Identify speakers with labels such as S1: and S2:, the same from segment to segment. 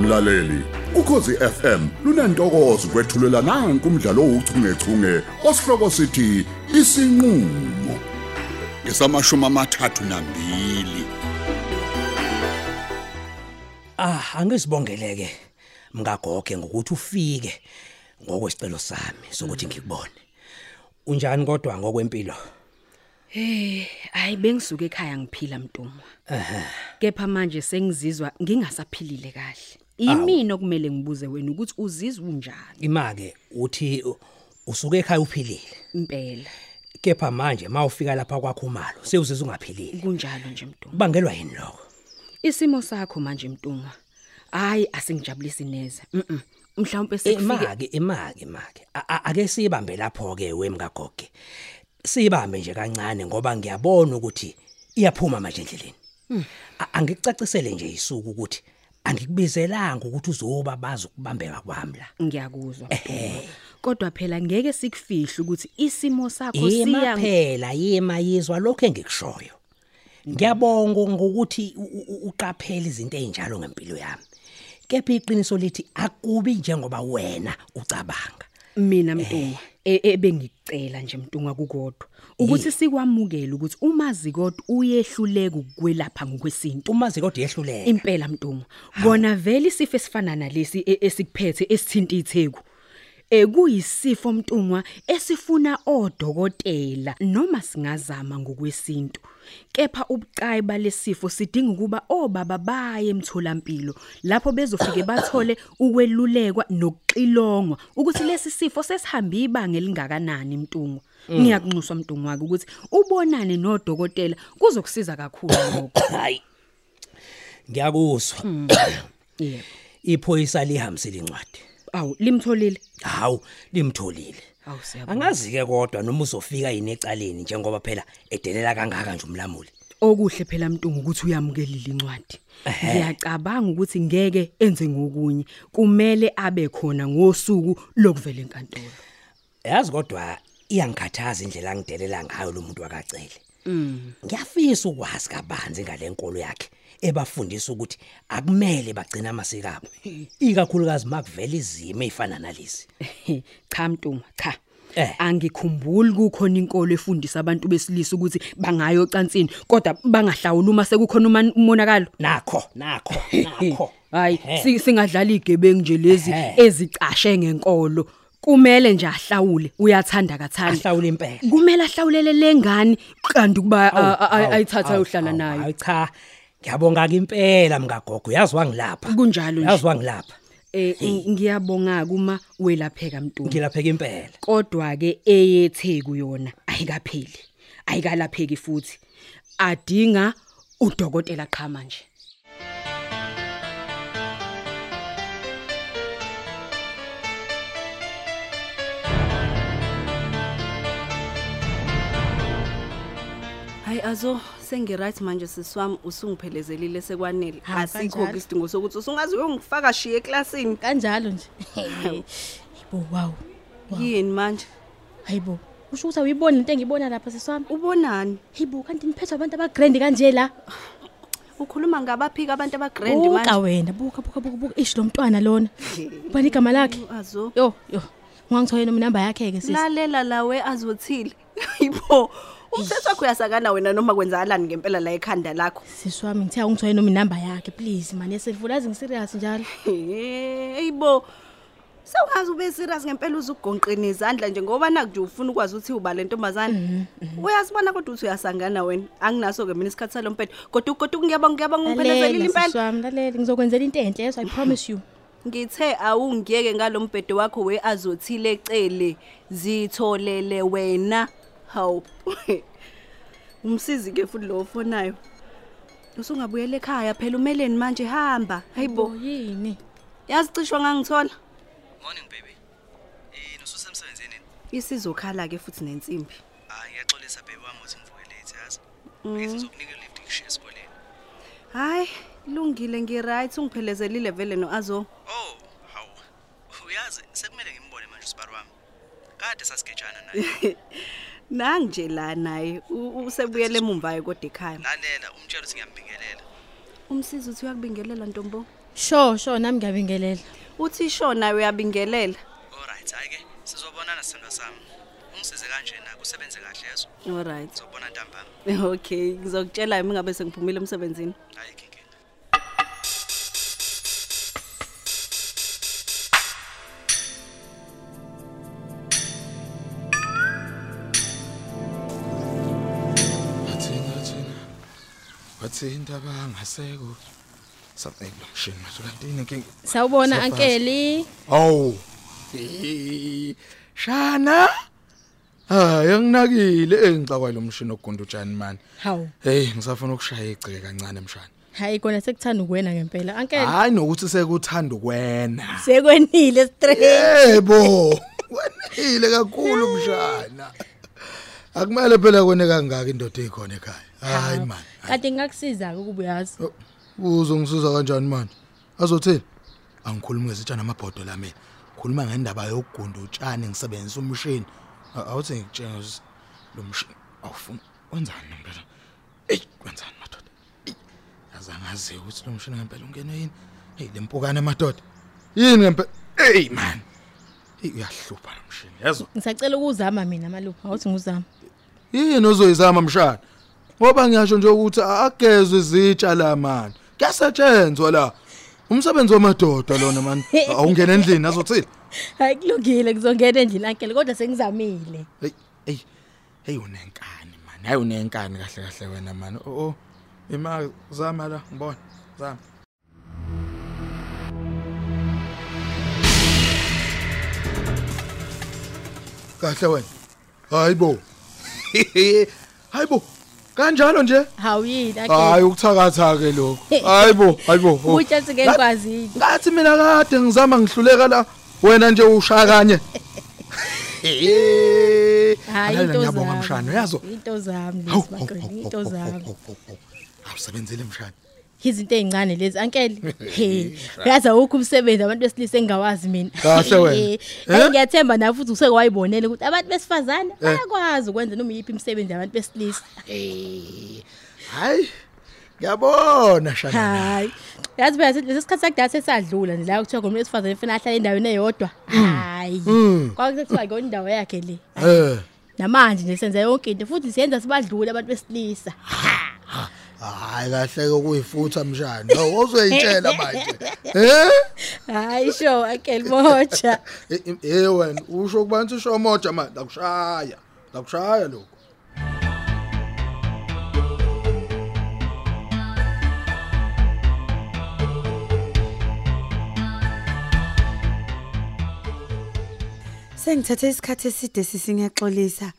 S1: mlaleli ukhosi FM lunantokozo kwethulela nanku umdlalo ouchungechunge osihloko sithi isinqulo ngesamashumi amathathu nambili
S2: Ah, angisibongeleke mngagoge ngokuthi ufike ngokwesicelo sami sokuthi ngikubone. Unjani kodwa ngokwempilo?
S3: Hey, ayi bengisuka Eh, ekhaya ngiphila mntumwa. Kepha manje sengizizwa ngingasaphilile kahle. Yimini okumele ngibuze wena ukuthi uzizwa unjani
S2: Imake uthi u- usuke ekhaya uphilile.
S3: impela.
S2: Kepha manje mawufika lapha kwakho umalo, sewuzizwa ungaphilile.
S3: Kunjalo nje mntumwa.
S2: Kubangelwa yini lokho?
S3: Isimo sakho manje mntumwa. Hayi asingijabulisi neze. Mhm. Mhlawumbe
S2: Eh,
S3: sekufike
S2: Imake, imake, imake. A- a- Ake sibambe lapho ke wemngagoge. Sibambe nje kancane ngoba ngiyabona ukuthi iyaphuma manje endleleni. A- Angikucacisele nje isuku ukuthi angikubizelanga ukuthi uzoba bazi ukubambeka kwami la.
S3: ngiyakuzwa mntumwa. Kodwa phela ngeke sikufihle ukuthi isimo sakho siya
S2: Yima phela yima yizwa lokho engikushoyo. Ngiyabonga ngokuthi u- u- u- uqaphele izinto ezinjalo ngempilo yami. Kepha iqiniso lithi akubi njengoba wena ucabanga.
S3: mina mntunga ebengicela nje mntunga kukodwa ukuthi sikwamukele ukuthi uma zikodwa uyehluleka ukwelapha ngokwesintu
S2: Uma zikode yehluleka.
S3: impela mntunga kona vele isifo esifana nalesi e- esikuphethe esithinta itheku Eh kuyisifo mntunwa esifuna odokotela noma singazama ngokwesintu kepha ubucayi balesifo sidinga ukuba obaba baye emtholampilo lapho bezofike bathole ukwelulekwa nokuxilongwa ukuthi lesi sifo sesihamba ibanga elingakanani mntunwa ngiyakunxuswa mntunwa ukuthi ubonane nodokotela kuzokusiza kakhulu lokho
S2: Hayi. Ngiyakuzwa.
S3: yebo
S2: Iphoyisa lihambisile incwadi.
S3: Awu limtholile.
S2: Hawu, limtholile.
S3: Awu siyabonga.
S2: Angazi ke kodwa noma uzofika yini ecaleni njengoba phela edelela kangaka nje umlamuli.
S3: Okuhle phela mntungu ukuthi uyamukelile incwadi. Ngiyacabanga ukuthi ngeke enze ngokunye. Kumele abe khona ngosuku lokuvela enkantolo.
S2: Yazi kodwa iyangikhathaza indlela angidelela ngayo lo muntu wakacele. Mm. Ngiyafisa ukwazi kabanzi ngalenkolo yakhe ebafundisa ukuthi akumele bagcina amasiko abo. Ikakhulukazi makuvela izimo ezifana nalezi.
S3: Cha mntungu, cha.
S2: Eh.
S3: Angikhumbuli kukhona inkolo efundisa abantu besilisa ukuthi bangayo ocansini kodwa bangahlawula uma sekukhona uma- umonakalo.
S2: Nakho, nakho, nakho.
S3: Hayi
S2: Ehhe.
S3: si- singadlala igebengu nje lezi
S2: Ehhe.
S3: ezicashe ngenkolo. Kumele nje ahlawule uyathanda kathanda.
S2: ahlawula impela.
S3: kumele ahlawulele lengane kanti kuba
S2: Awu,
S3: a- a-
S2: awu,
S3: ayithatha
S2: awu,
S3: uhlala
S2: awu,
S3: nayo
S2: Hayi cha. Ngiyabonga ke impela mngagogo, yazi wangilapha.
S3: Kunjalo nje.
S2: Yazi wangilapha.
S3: eh ng- ngiyabonga kuma welapheka mntu
S2: Ngilapheka impela.
S3: kodwa ke eyetheku yona ayikapheli ayikalapheki futhi adinga udokotela qhama nje
S4: hayi azo sengiright manje sisi wami usungiphelezelile sekwanele
S5: Ha,
S4: asikho
S5: kanjalo.
S4: ke isidingo sokuthi usungaze uyongifaka shiye eklasini
S5: kanjalo nje hayibo wow
S4: yini manje
S5: hayibo usho ukuthi awuyiboni into engiyibona lapha siswami
S4: ubonani
S5: hayibo kanti niphethwa abantu abagrand kanje la
S4: ukhuluma ngabaphiki abantu abagrand
S5: buka
S4: manje
S5: wena buka buka buka buka ishi lo mntwana lona ubani igama lakhe
S4: azo
S5: yo yo ungangithoyena umnamba yakhe-ke sisi
S4: lalela lawe azothile yibo umthetho wakho uyasakana wena noma kwenzakalani ngempela la ekhanda lakho
S5: sisi wami ngithe ungithoyena umnamba yakhe please mani esevulazi ngiserious njalo
S4: eyibo sewungazi ube serious ngempela uze ugonqine izandla nje ngoba nakunje ufuna ukwazi ukuthi uba le ntombazane uyasibona kodwa ukuthi uyasangana wena anginaso-ke mina isikhathi salo mpela godwa godwa ngiyabonga ngiyabonga ungiphelezelile Oh, impela
S5: wami lalela ngizokwenzela into enhle yeso i promise you
S4: ngithe awungiyeke ngalo mbhedo wakho we-azothile ecele zitholele wena hawu umsizi-ke futhi lo ofonayo usungabuyela ekhaya phela umeleni manje hamba hayibo
S5: Mm. yini
S4: yazicishwa ngangithola
S6: Morning baby. Eh nosusemsebenzini?
S4: isizokhala-ke futhi nensimbi
S6: Hayi Ah, ngiyaxolisa baby wami ukuthi ngivuke late yazi. Ngizokunika i-lift ngishiye esikoleni.
S4: hayi lungile ngi-right ungiphelezelile vele no-azo
S6: Oh, hawu. Uyazi sekumele ngimbone manje usibari wami. Kade sasigejana naye.
S4: nangi nje la naye u- u- usebuyele emumvayo kodwa ekhaya
S6: Lalela umtshela ukuthi ngiyambingelela.
S4: umsizi uthi uyakubingelela ntombo
S5: Sho sho nami ngiyabingelela.
S4: uthi shona uyabingelela
S6: Alright, ayike sizobonana sithandwa sami. Ungisize kanje na kusebenze kahle yezo.
S4: alright
S6: Sizobona ntambama.
S4: okay ngizokutshela mina ngabe sengiphumile emsebenzini
S6: Ayike inkinga.
S7: Athina athina. Wathi indaba angaseko. Something machine manje kanti inkinga.
S5: Sawubona
S7: Siyabhaza.
S5: ankeli.
S7: Aw. Shana. Ah, Eh, Hayi anginakile engicakwa lo mshini ogunda utshani mani.
S5: Hawu.
S7: Hey ngisafuna ukushaya igcike kancane mshana.
S5: Hayi kona sekuthanda ukwena ngempela. Ankeli
S7: Hayi nokuthi sekuthanda ukwena.
S5: sekwenile straight.
S7: Yebo. Wenile kakhulu mshana. Akumele phela kwene kangaka indoda ekhona ekhaya. Hayi mani.
S5: Kade ngakusiza ukuba uyazi.
S7: Oh, Uzongisiza kanjani manje? Azothini? Angikhulumi ngezitshana amabhodo la mina. Khuluma ngendaba yokugunda utshani ngisebenzisa umshini. A- Awuthi ngitshenge ukuthi lo mshini awufuni wenzani ngempela? Ey, wenzani madoda? Ey, Azangazi ukuthi lo mshini ngempela ungene yini? Hey, lempukane madoda. Yini ngempela? Ey man. Ey, uyahlupha lo mshini. Yazo.
S5: Ngisacela ukuzama mina malupha awuthi nguzama.
S7: Yini ozoyizama mshana? Ngoba ngiyasho nje ukuthi agezwe izitsha la manje. Kuyasetshenzwa la. Umsebenzi wamadoda lona manje. Awungena endlini azothini?
S5: Hayi kulungile kuzongena endlini ankeli kodwa sengizamile.
S7: Hey, hey. Hey unenkani man. Hayi unenkani kahle kahle wena man. Oh oh. Ima zama la ngibona. Zama. Kahle wena. Hayibo. Hayibo. Kanjalo nje.
S5: Hawu yini
S7: hayi
S5: ankeli.
S7: ukuthakatha ke lokho
S5: Eh,
S7: hayibo hayibo oh.
S5: Utsha sike ngikwazi.
S7: ngathi mina kade ngizama ngihluleka la wena nje ushaya kanye
S5: Hayi
S7: Alala,
S5: into zami.
S7: ngiyabonga mshana uyazo
S5: Into zami
S7: Hawu,
S5: lezi
S7: hawu,
S5: maqini
S7: hawu,
S5: into
S7: hawu, hawu,
S5: zami.
S7: hawu, hawu, hawu. awusebenzile mshana
S5: Izinto ezincane lezi ankeli. Hey, uyazi awukho umsebenzi abantu besilisa engawazi mina.
S7: Kahle wena.
S5: Eh
S7: Eh?
S5: ngiyathemba nawe futhi useke wayibonela ukuthi abantu besifazane
S7: Eh.
S5: bayakwazi ukwenza noma yipi imisebenzi yabantu besilisa.
S7: Eh, hayi ngiyabona shana
S5: Hayi. Yazi phela lesi sikhathi sakudala sesadlula nje la kuthiwa ngomuntu wesifazane ufuna ahlale endaweni eyodwa. Hayi.
S7: Mm.
S5: Kwakuthiwa ikho indawo yakhe le.
S7: eh
S5: Namanje nje senza yonke into futhi siyenza sibadlule abantu besilisa.
S7: hayi kahle ke kuyifutha mshana no ozoyitshela manje eh
S5: Hayi sho akeli mocha.
S7: Eh, eh, eh wena usho kubantu usho moja manje akushaya akushaya lokho
S8: Sengithathe isikhathi eside sisingaxolisa.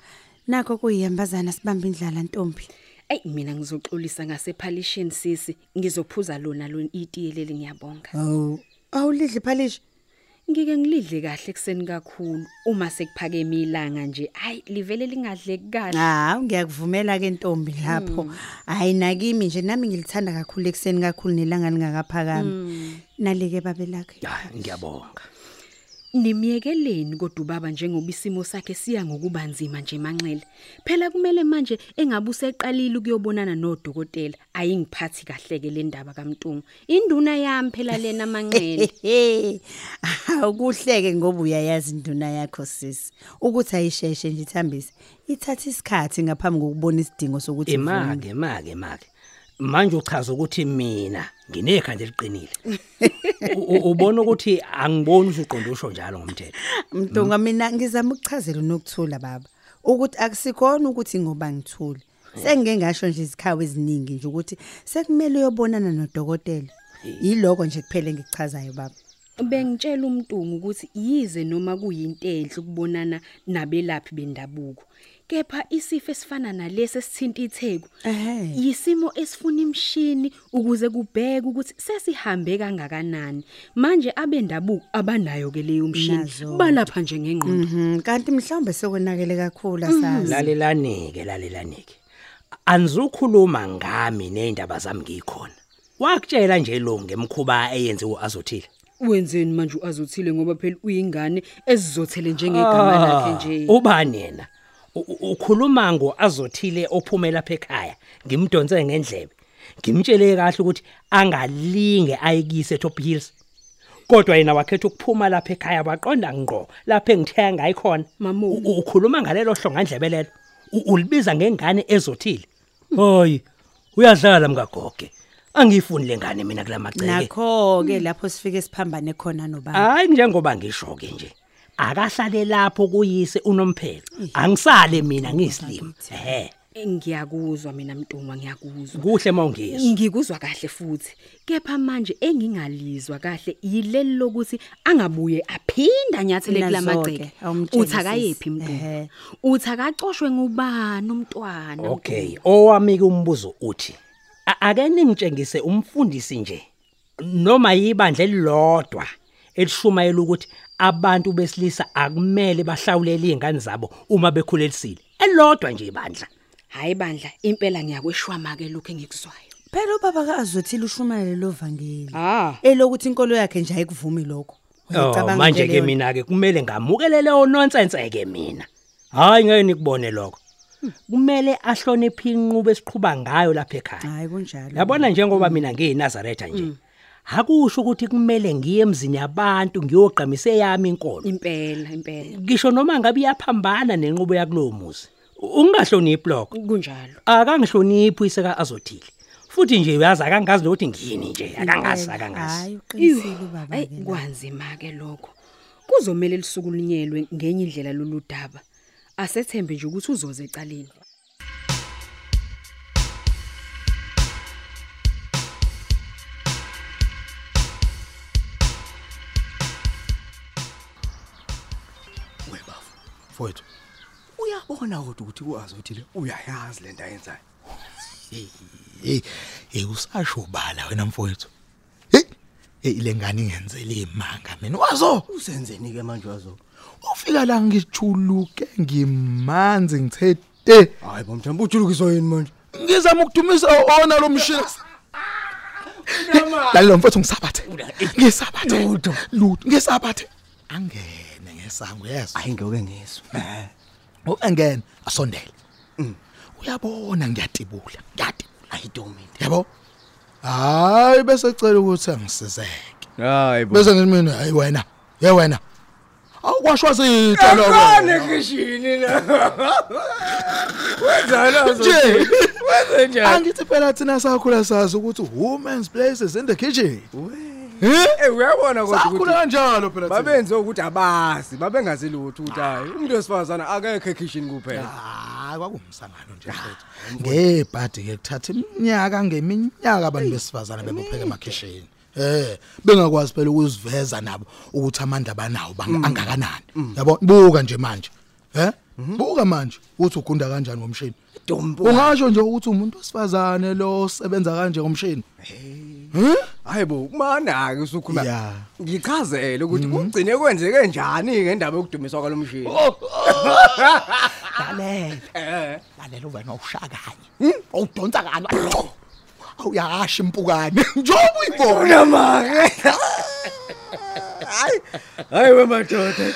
S8: Nakho kuyihambazana sibamba indlala ntombi.
S3: Ey mina ngizoxolisa ngasephalishini sisi ngizophuza lona lo itiyeleli ngiyabonga.
S8: Awu, awulidli phalishi.
S3: Ngike ngilidle kahle ekseni kakhulu uma sekuphakeme ilanga nje. Hayi livele lingadleki kahle.
S8: Hawu, ngiyakuvumela ke ntombi lapho. Hayi nakimi nje nami ngilithanda kakhulu ekseni kakhulu nelanga lingakaphakami. Nalike babelakhe.
S3: Ah,
S2: ya ngiyabonga
S3: Nimiyekeleni kodwa ubaba njengoba isimo sakhe siya ngokubanzima nje manxele. Phela kumele manje engabe useqalile ukuyobonana nodokotela ayingiphathi kahle ke le ndaba kaMtungu. Induna yami phela lena manxele.
S8: Hey. Awukuhleke ngoba uyayazi induna yakho sisi ukuthi ayisheshe nje ithambise. Ithatha isikhathi ngaphambi kokubona isidingo sokuthi uvume.
S2: emake emake emake manje uchaza ukuthi mina nginekhanda eliqinile U- u- ubona ukuthi angiboni usuqonda usho njalo ngomthetho
S8: Mntunga mina ngizama ukuchazela nokuthula baba ukuthi akusikhona ukuthi ngoba ngithule. Sengike ngasho nje izikhawu eziningi nje ukuthi sekumele uyobonana nodokotela. Yiloko nje kuphele ngichazayo baba.
S3: Bengitshela uMtungu ukuthi yize noma kuyinto enhle ukubonana nabelaphi bendabuko. Kepha isifo esifana nalesi sithinta itheku
S8: Ehhe.
S3: yisimo esifuna imshini ukuze kubheke ukuthi sesihambe kangakanani. Manje abendabuko abanayo ke leyo mshini.
S8: Nazo.
S3: Balapha nje ngengqondo.
S8: Mhm, kanti mhlawumbe sekonakele kakhulu asazi.
S2: lalelanike lalelanike anizukhuluma ngami neindaba zami ngikhona wakutshela nje lo ngemkhuba eyenziwe azothile
S8: Mm.
S3: Wenzeni manje uazothile ngoba phela uyingane ezizothele njengegama
S8: Ah.
S3: lakhe nje.
S2: ubani yena U- u- ukhuluma ngo azothile ophumela lapha ekhaya ngimdonse ngendlebe ngimtshele kahle ukuthi angalinge ayikise eTop Hills kodwa yena wakhetha ukuphuma lapha ekhaya waqonda ngqo lapha engithenga ngayi khona
S3: Mamu.
S2: U- u- ukhuluma ngalelo hlongandlebelelo ulibiza ngengane ezothile hoyi uyadlala mngagoge angiyifuni lengane mina kulamagceke
S8: nakho-ke lapho sifike siphambane khona nobaba
S2: hayi njengoba ngisho ke nje akahlale lapho kuyise unomphelo angisale mina ngiyisilimo ehe
S3: Ngiyakuzwa mina Mtunwa ngiyakuzwa.
S2: kuhle mawungizwa
S3: Ngikuzwa kahle futhi. Kepha manje engingalizwa kahle yileli lokuthi angabuye aphinda nyathele
S8: Nazo-ke,
S3: kulamagceke.
S8: awumtsheli
S3: Uthi akayephi
S8: sisi. Ehhe.
S3: Mtunwa? Uthi akacoshwe ngubani umntwana?
S2: okay owamike umbuzo uthi "A- ake ningitshengise umfundisi nje noma yibandla elilodwa elishumayela ukuthi abantu besilisa akumele bahlawulele izingane zabo uma bekhulelisile elodwa nje ibandla
S3: Hayi bandla, impela ngiyakweshwama ke lokho engikuzwayo.
S8: phela ubaba ka-azothile ushumayele lovangeli
S3: Ah.
S8: elokuthi inkolo yakhe nje ayikuvumi lokho
S2: Oh,
S8: Uyayicabanga
S2: manje
S8: into
S2: ke
S8: leyo?
S2: mina ke kumele ngamukele leyo nonsense ke mina. Hayi ngeke nikubone lokho. Kumele ahloniphe inqubo esiqhubha ngayo lapha ekhaya.
S8: hayi kunjalo
S2: Yabona njengoba mina ngiyiNazaretha nje. Hakusho ukuthi kumele ngiye emzini yabantu ngiyogqamise yami inkolo.
S3: Impela, impela.
S2: Ngisho noma ngabe iyaphambana nenqubo yakulowo muzi. U- Ungahloniphi lokho.
S3: Kunjalo.
S2: Akangihloniphi iseka azothile. Futhi nje uyazi akangazi nokuthi ngiyini nje akangazi
S8: Impela.
S2: akangazi.
S8: Hhayi,
S3: Iwu,
S8: uqinisile ubaba
S3: hayi kwanzima ke lokho. Kuzomela lisukulinyelwe ngenye indlela loludaba. Asethembe nje ukuthi uzoze ecaleni.
S9: webafu
S7: Mfowethu,
S9: uyabona kodwa ukuthi uazothile uyayazi lento ayenzayo
S7: hey, hey usasho bala wena mfowethu. Hey, hey lengane ingenzele imanga mina. Wazo
S9: usenzeni ke manje wazo
S7: ufika la ngijuluke ngimanzi ngithe te.
S9: hayi bomthamba ujulukiswa yini manje
S7: Ngizama ukudumisa ona lo mshini. Lalo mfowethu ngisabathe. Ngisabathe. eh, Lutho, lutho. Ngisabathe. Angene ngesango yeso.
S9: hayi ngiyoke ngizwe
S7: Angene asondele. Uyabona ngiyatibula. Ngiyatibula.
S9: hayi domini
S7: Yabo? Hayi bese cela ukuthi angisizeke.
S9: hayi
S7: bese ngithi mina hayi wena ye wena awukwashwa sitho
S9: Ekhane kishini la. Wenzani
S7: Nje.
S9: Wenze njani?
S7: angithi phela thina sakhula sazi ukuthi women's place is in the kitchen
S9: Eh uyabona kodwa
S7: sakhula
S9: ukuthi
S7: kanjalo phela thina.
S9: babenze ukuthi abazi, babengazi lutho ukuthi hayi umuntu wesifazana akekho ekitchen kuphela.
S7: hayi Ah, kwakumsangano nje mfethu ngebhadi ke kuthatha iminyaka ngeminyaka abantu besifazana bebopheka emakhishini eh bengakwazi phela ukuziveza nabo ukuthi amandla banawo banga- angakanani yabona buka nje manje eh buka manje uthi ugunda kanjani ngomshini
S9: Dombo.
S7: ungasho nje ukuthi umuntu osifazane lo osebenza kanje ngomshini
S9: Hayi bo, mana ke
S7: Yeah.
S9: usukhuluma. Ngichazele ukuthi kugcine kwenzeke njani ngendaba yokudumiswa kwalomshini.
S7: lalela lalela wena ushakanye awudonsa kani awuyasha impukane njengoba uyibona
S9: Unama. Hayi. Hayi wemadoda.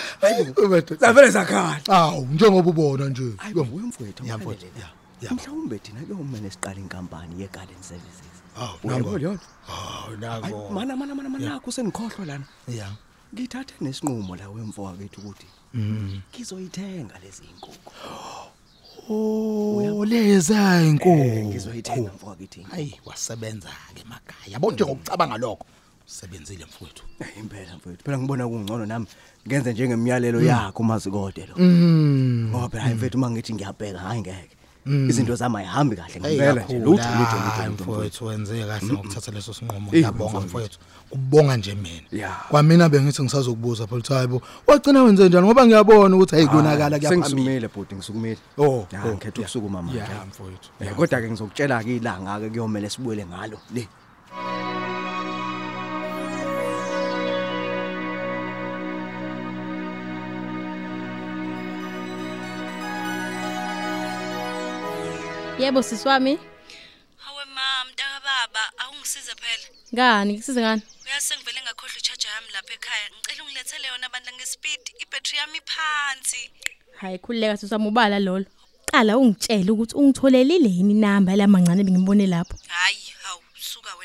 S9: Zavele zakhala.
S7: awu njengoba ubona nje
S6: Hayi
S7: Yo,
S6: nguwe mfowethu.
S7: Ya,
S6: ngiphelele
S7: mfowethu,
S6: la.
S7: ya, ya.
S6: Mhlawumbe thina ke umele siqale inkampani ye garden services.
S7: awu
S6: Uyabona
S7: nango
S6: yona?
S7: awu
S6: Hayi
S7: nango
S6: mana mana mana manakho sengikhohlwa lana.
S7: ya
S6: Ngithathe nesinqumo la wemfoka kwethu ukuthi
S7: Mm.
S6: ngizoyithenga lezi inkukhu.
S7: oh leza inkukhu
S6: Ngizoyithenga mfoka kwethu.
S7: hayi wasebenza ke emakhaya yabo nje ngokucabanga lokho usebenzile mfowethu
S6: Hayi impela mfowethu. Phela ngibona kungcono nami ngenze njengemiyalelo yakho mazikode
S7: Mm.
S6: lo. Ngoba Oh, phela hayi mfowethu uma ngithi ngiyabheka hayi ngeke. Izinto zami ayihambi kahle ngempela nje lutho lutho lutho lutho mfowethu.
S7: mfowethu wenze kahle ngokuthatha leso sinqumo
S6: Eyi,
S7: ngiyabonga
S6: mfowethu.
S7: mfowethu kubonga nje mina
S6: Ya.
S7: kwamina bengithi ngisazokubuza phela uthi hayibo wagcina wenze njani ngoba ngiyabona ukuthi hayi konakala
S6: Hayi,
S7: kuyaphambili
S6: Sengisumile bhuti ngisukile.
S7: Oh, oh,
S6: ngikhetha ukusukuma manje.
S7: ya mfowethu
S6: Eh, Kodwa ke ngizokutshela ke ilanga ke kuyomela sibuye ngalo le.
S5: yebo sisi wami
S10: Hawe mam, mntaka baba, awungisize phela.
S5: ngani ngisize ngani
S10: Uyazi sengivele ngakhohlwa ichaja yami lapha ekhaya. Ngicela ungilethele yona bandla ngespeed. Ibhetri yami iphansi.
S5: hayi khulileka sisi wami ubala lolo qala ungitshele ukuthi ungitholelile yini inamba lamancane bengimbone lapho
S10: Hayi,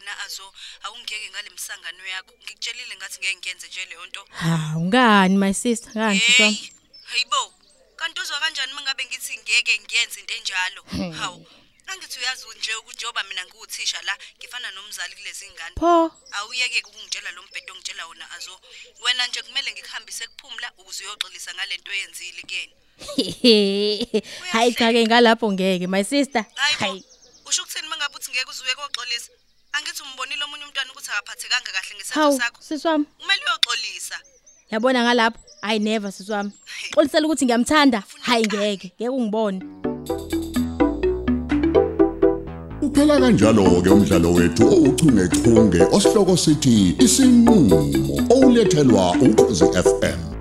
S4: nazo awungeke ngale msangano yakho ngikutshelile ngathi ngeke ngiyenze nje leyo nto
S5: ha ungani my sister ngani sisi wami
S4: Hey, hayibo. Kanti uzwa kanjani mangabe ngithi ngeke ngiyenze into enjalo?
S5: Hmm.
S4: Hawu. Angithi uyazi nje ukujoba mina ngiwuthisha la, ngifana nomzali kulezi ngane.
S5: Pho.
S4: Awuyeke ukungitshela lo mbhedo ongitshela wona azo. Wena nje kumele ngikuhambise kuphumla ukuze uyoxolisa ngalento oyenzile kuyena.
S5: hayi cha ke ngalapho ngeke my sister hayi
S4: Usho ukuthini mangabe uthi ngeke uzuye koxolisa? Angithi umbonile omunye umntwana ukuthi akaphathekanga kahle ngesenzo
S5: hawu
S4: sakho.
S5: sisi wami
S4: Kumele uyoxolisa.
S5: yabona ngalapho i never sisi wami xolisela ukuthi ngiyamthanda hayi ngeke ngeke ungibone
S1: Uphela kanjalo ke umdlalo wethu ouchungechunge osihloko sithi isinqulo olethelwa ukhosi FM.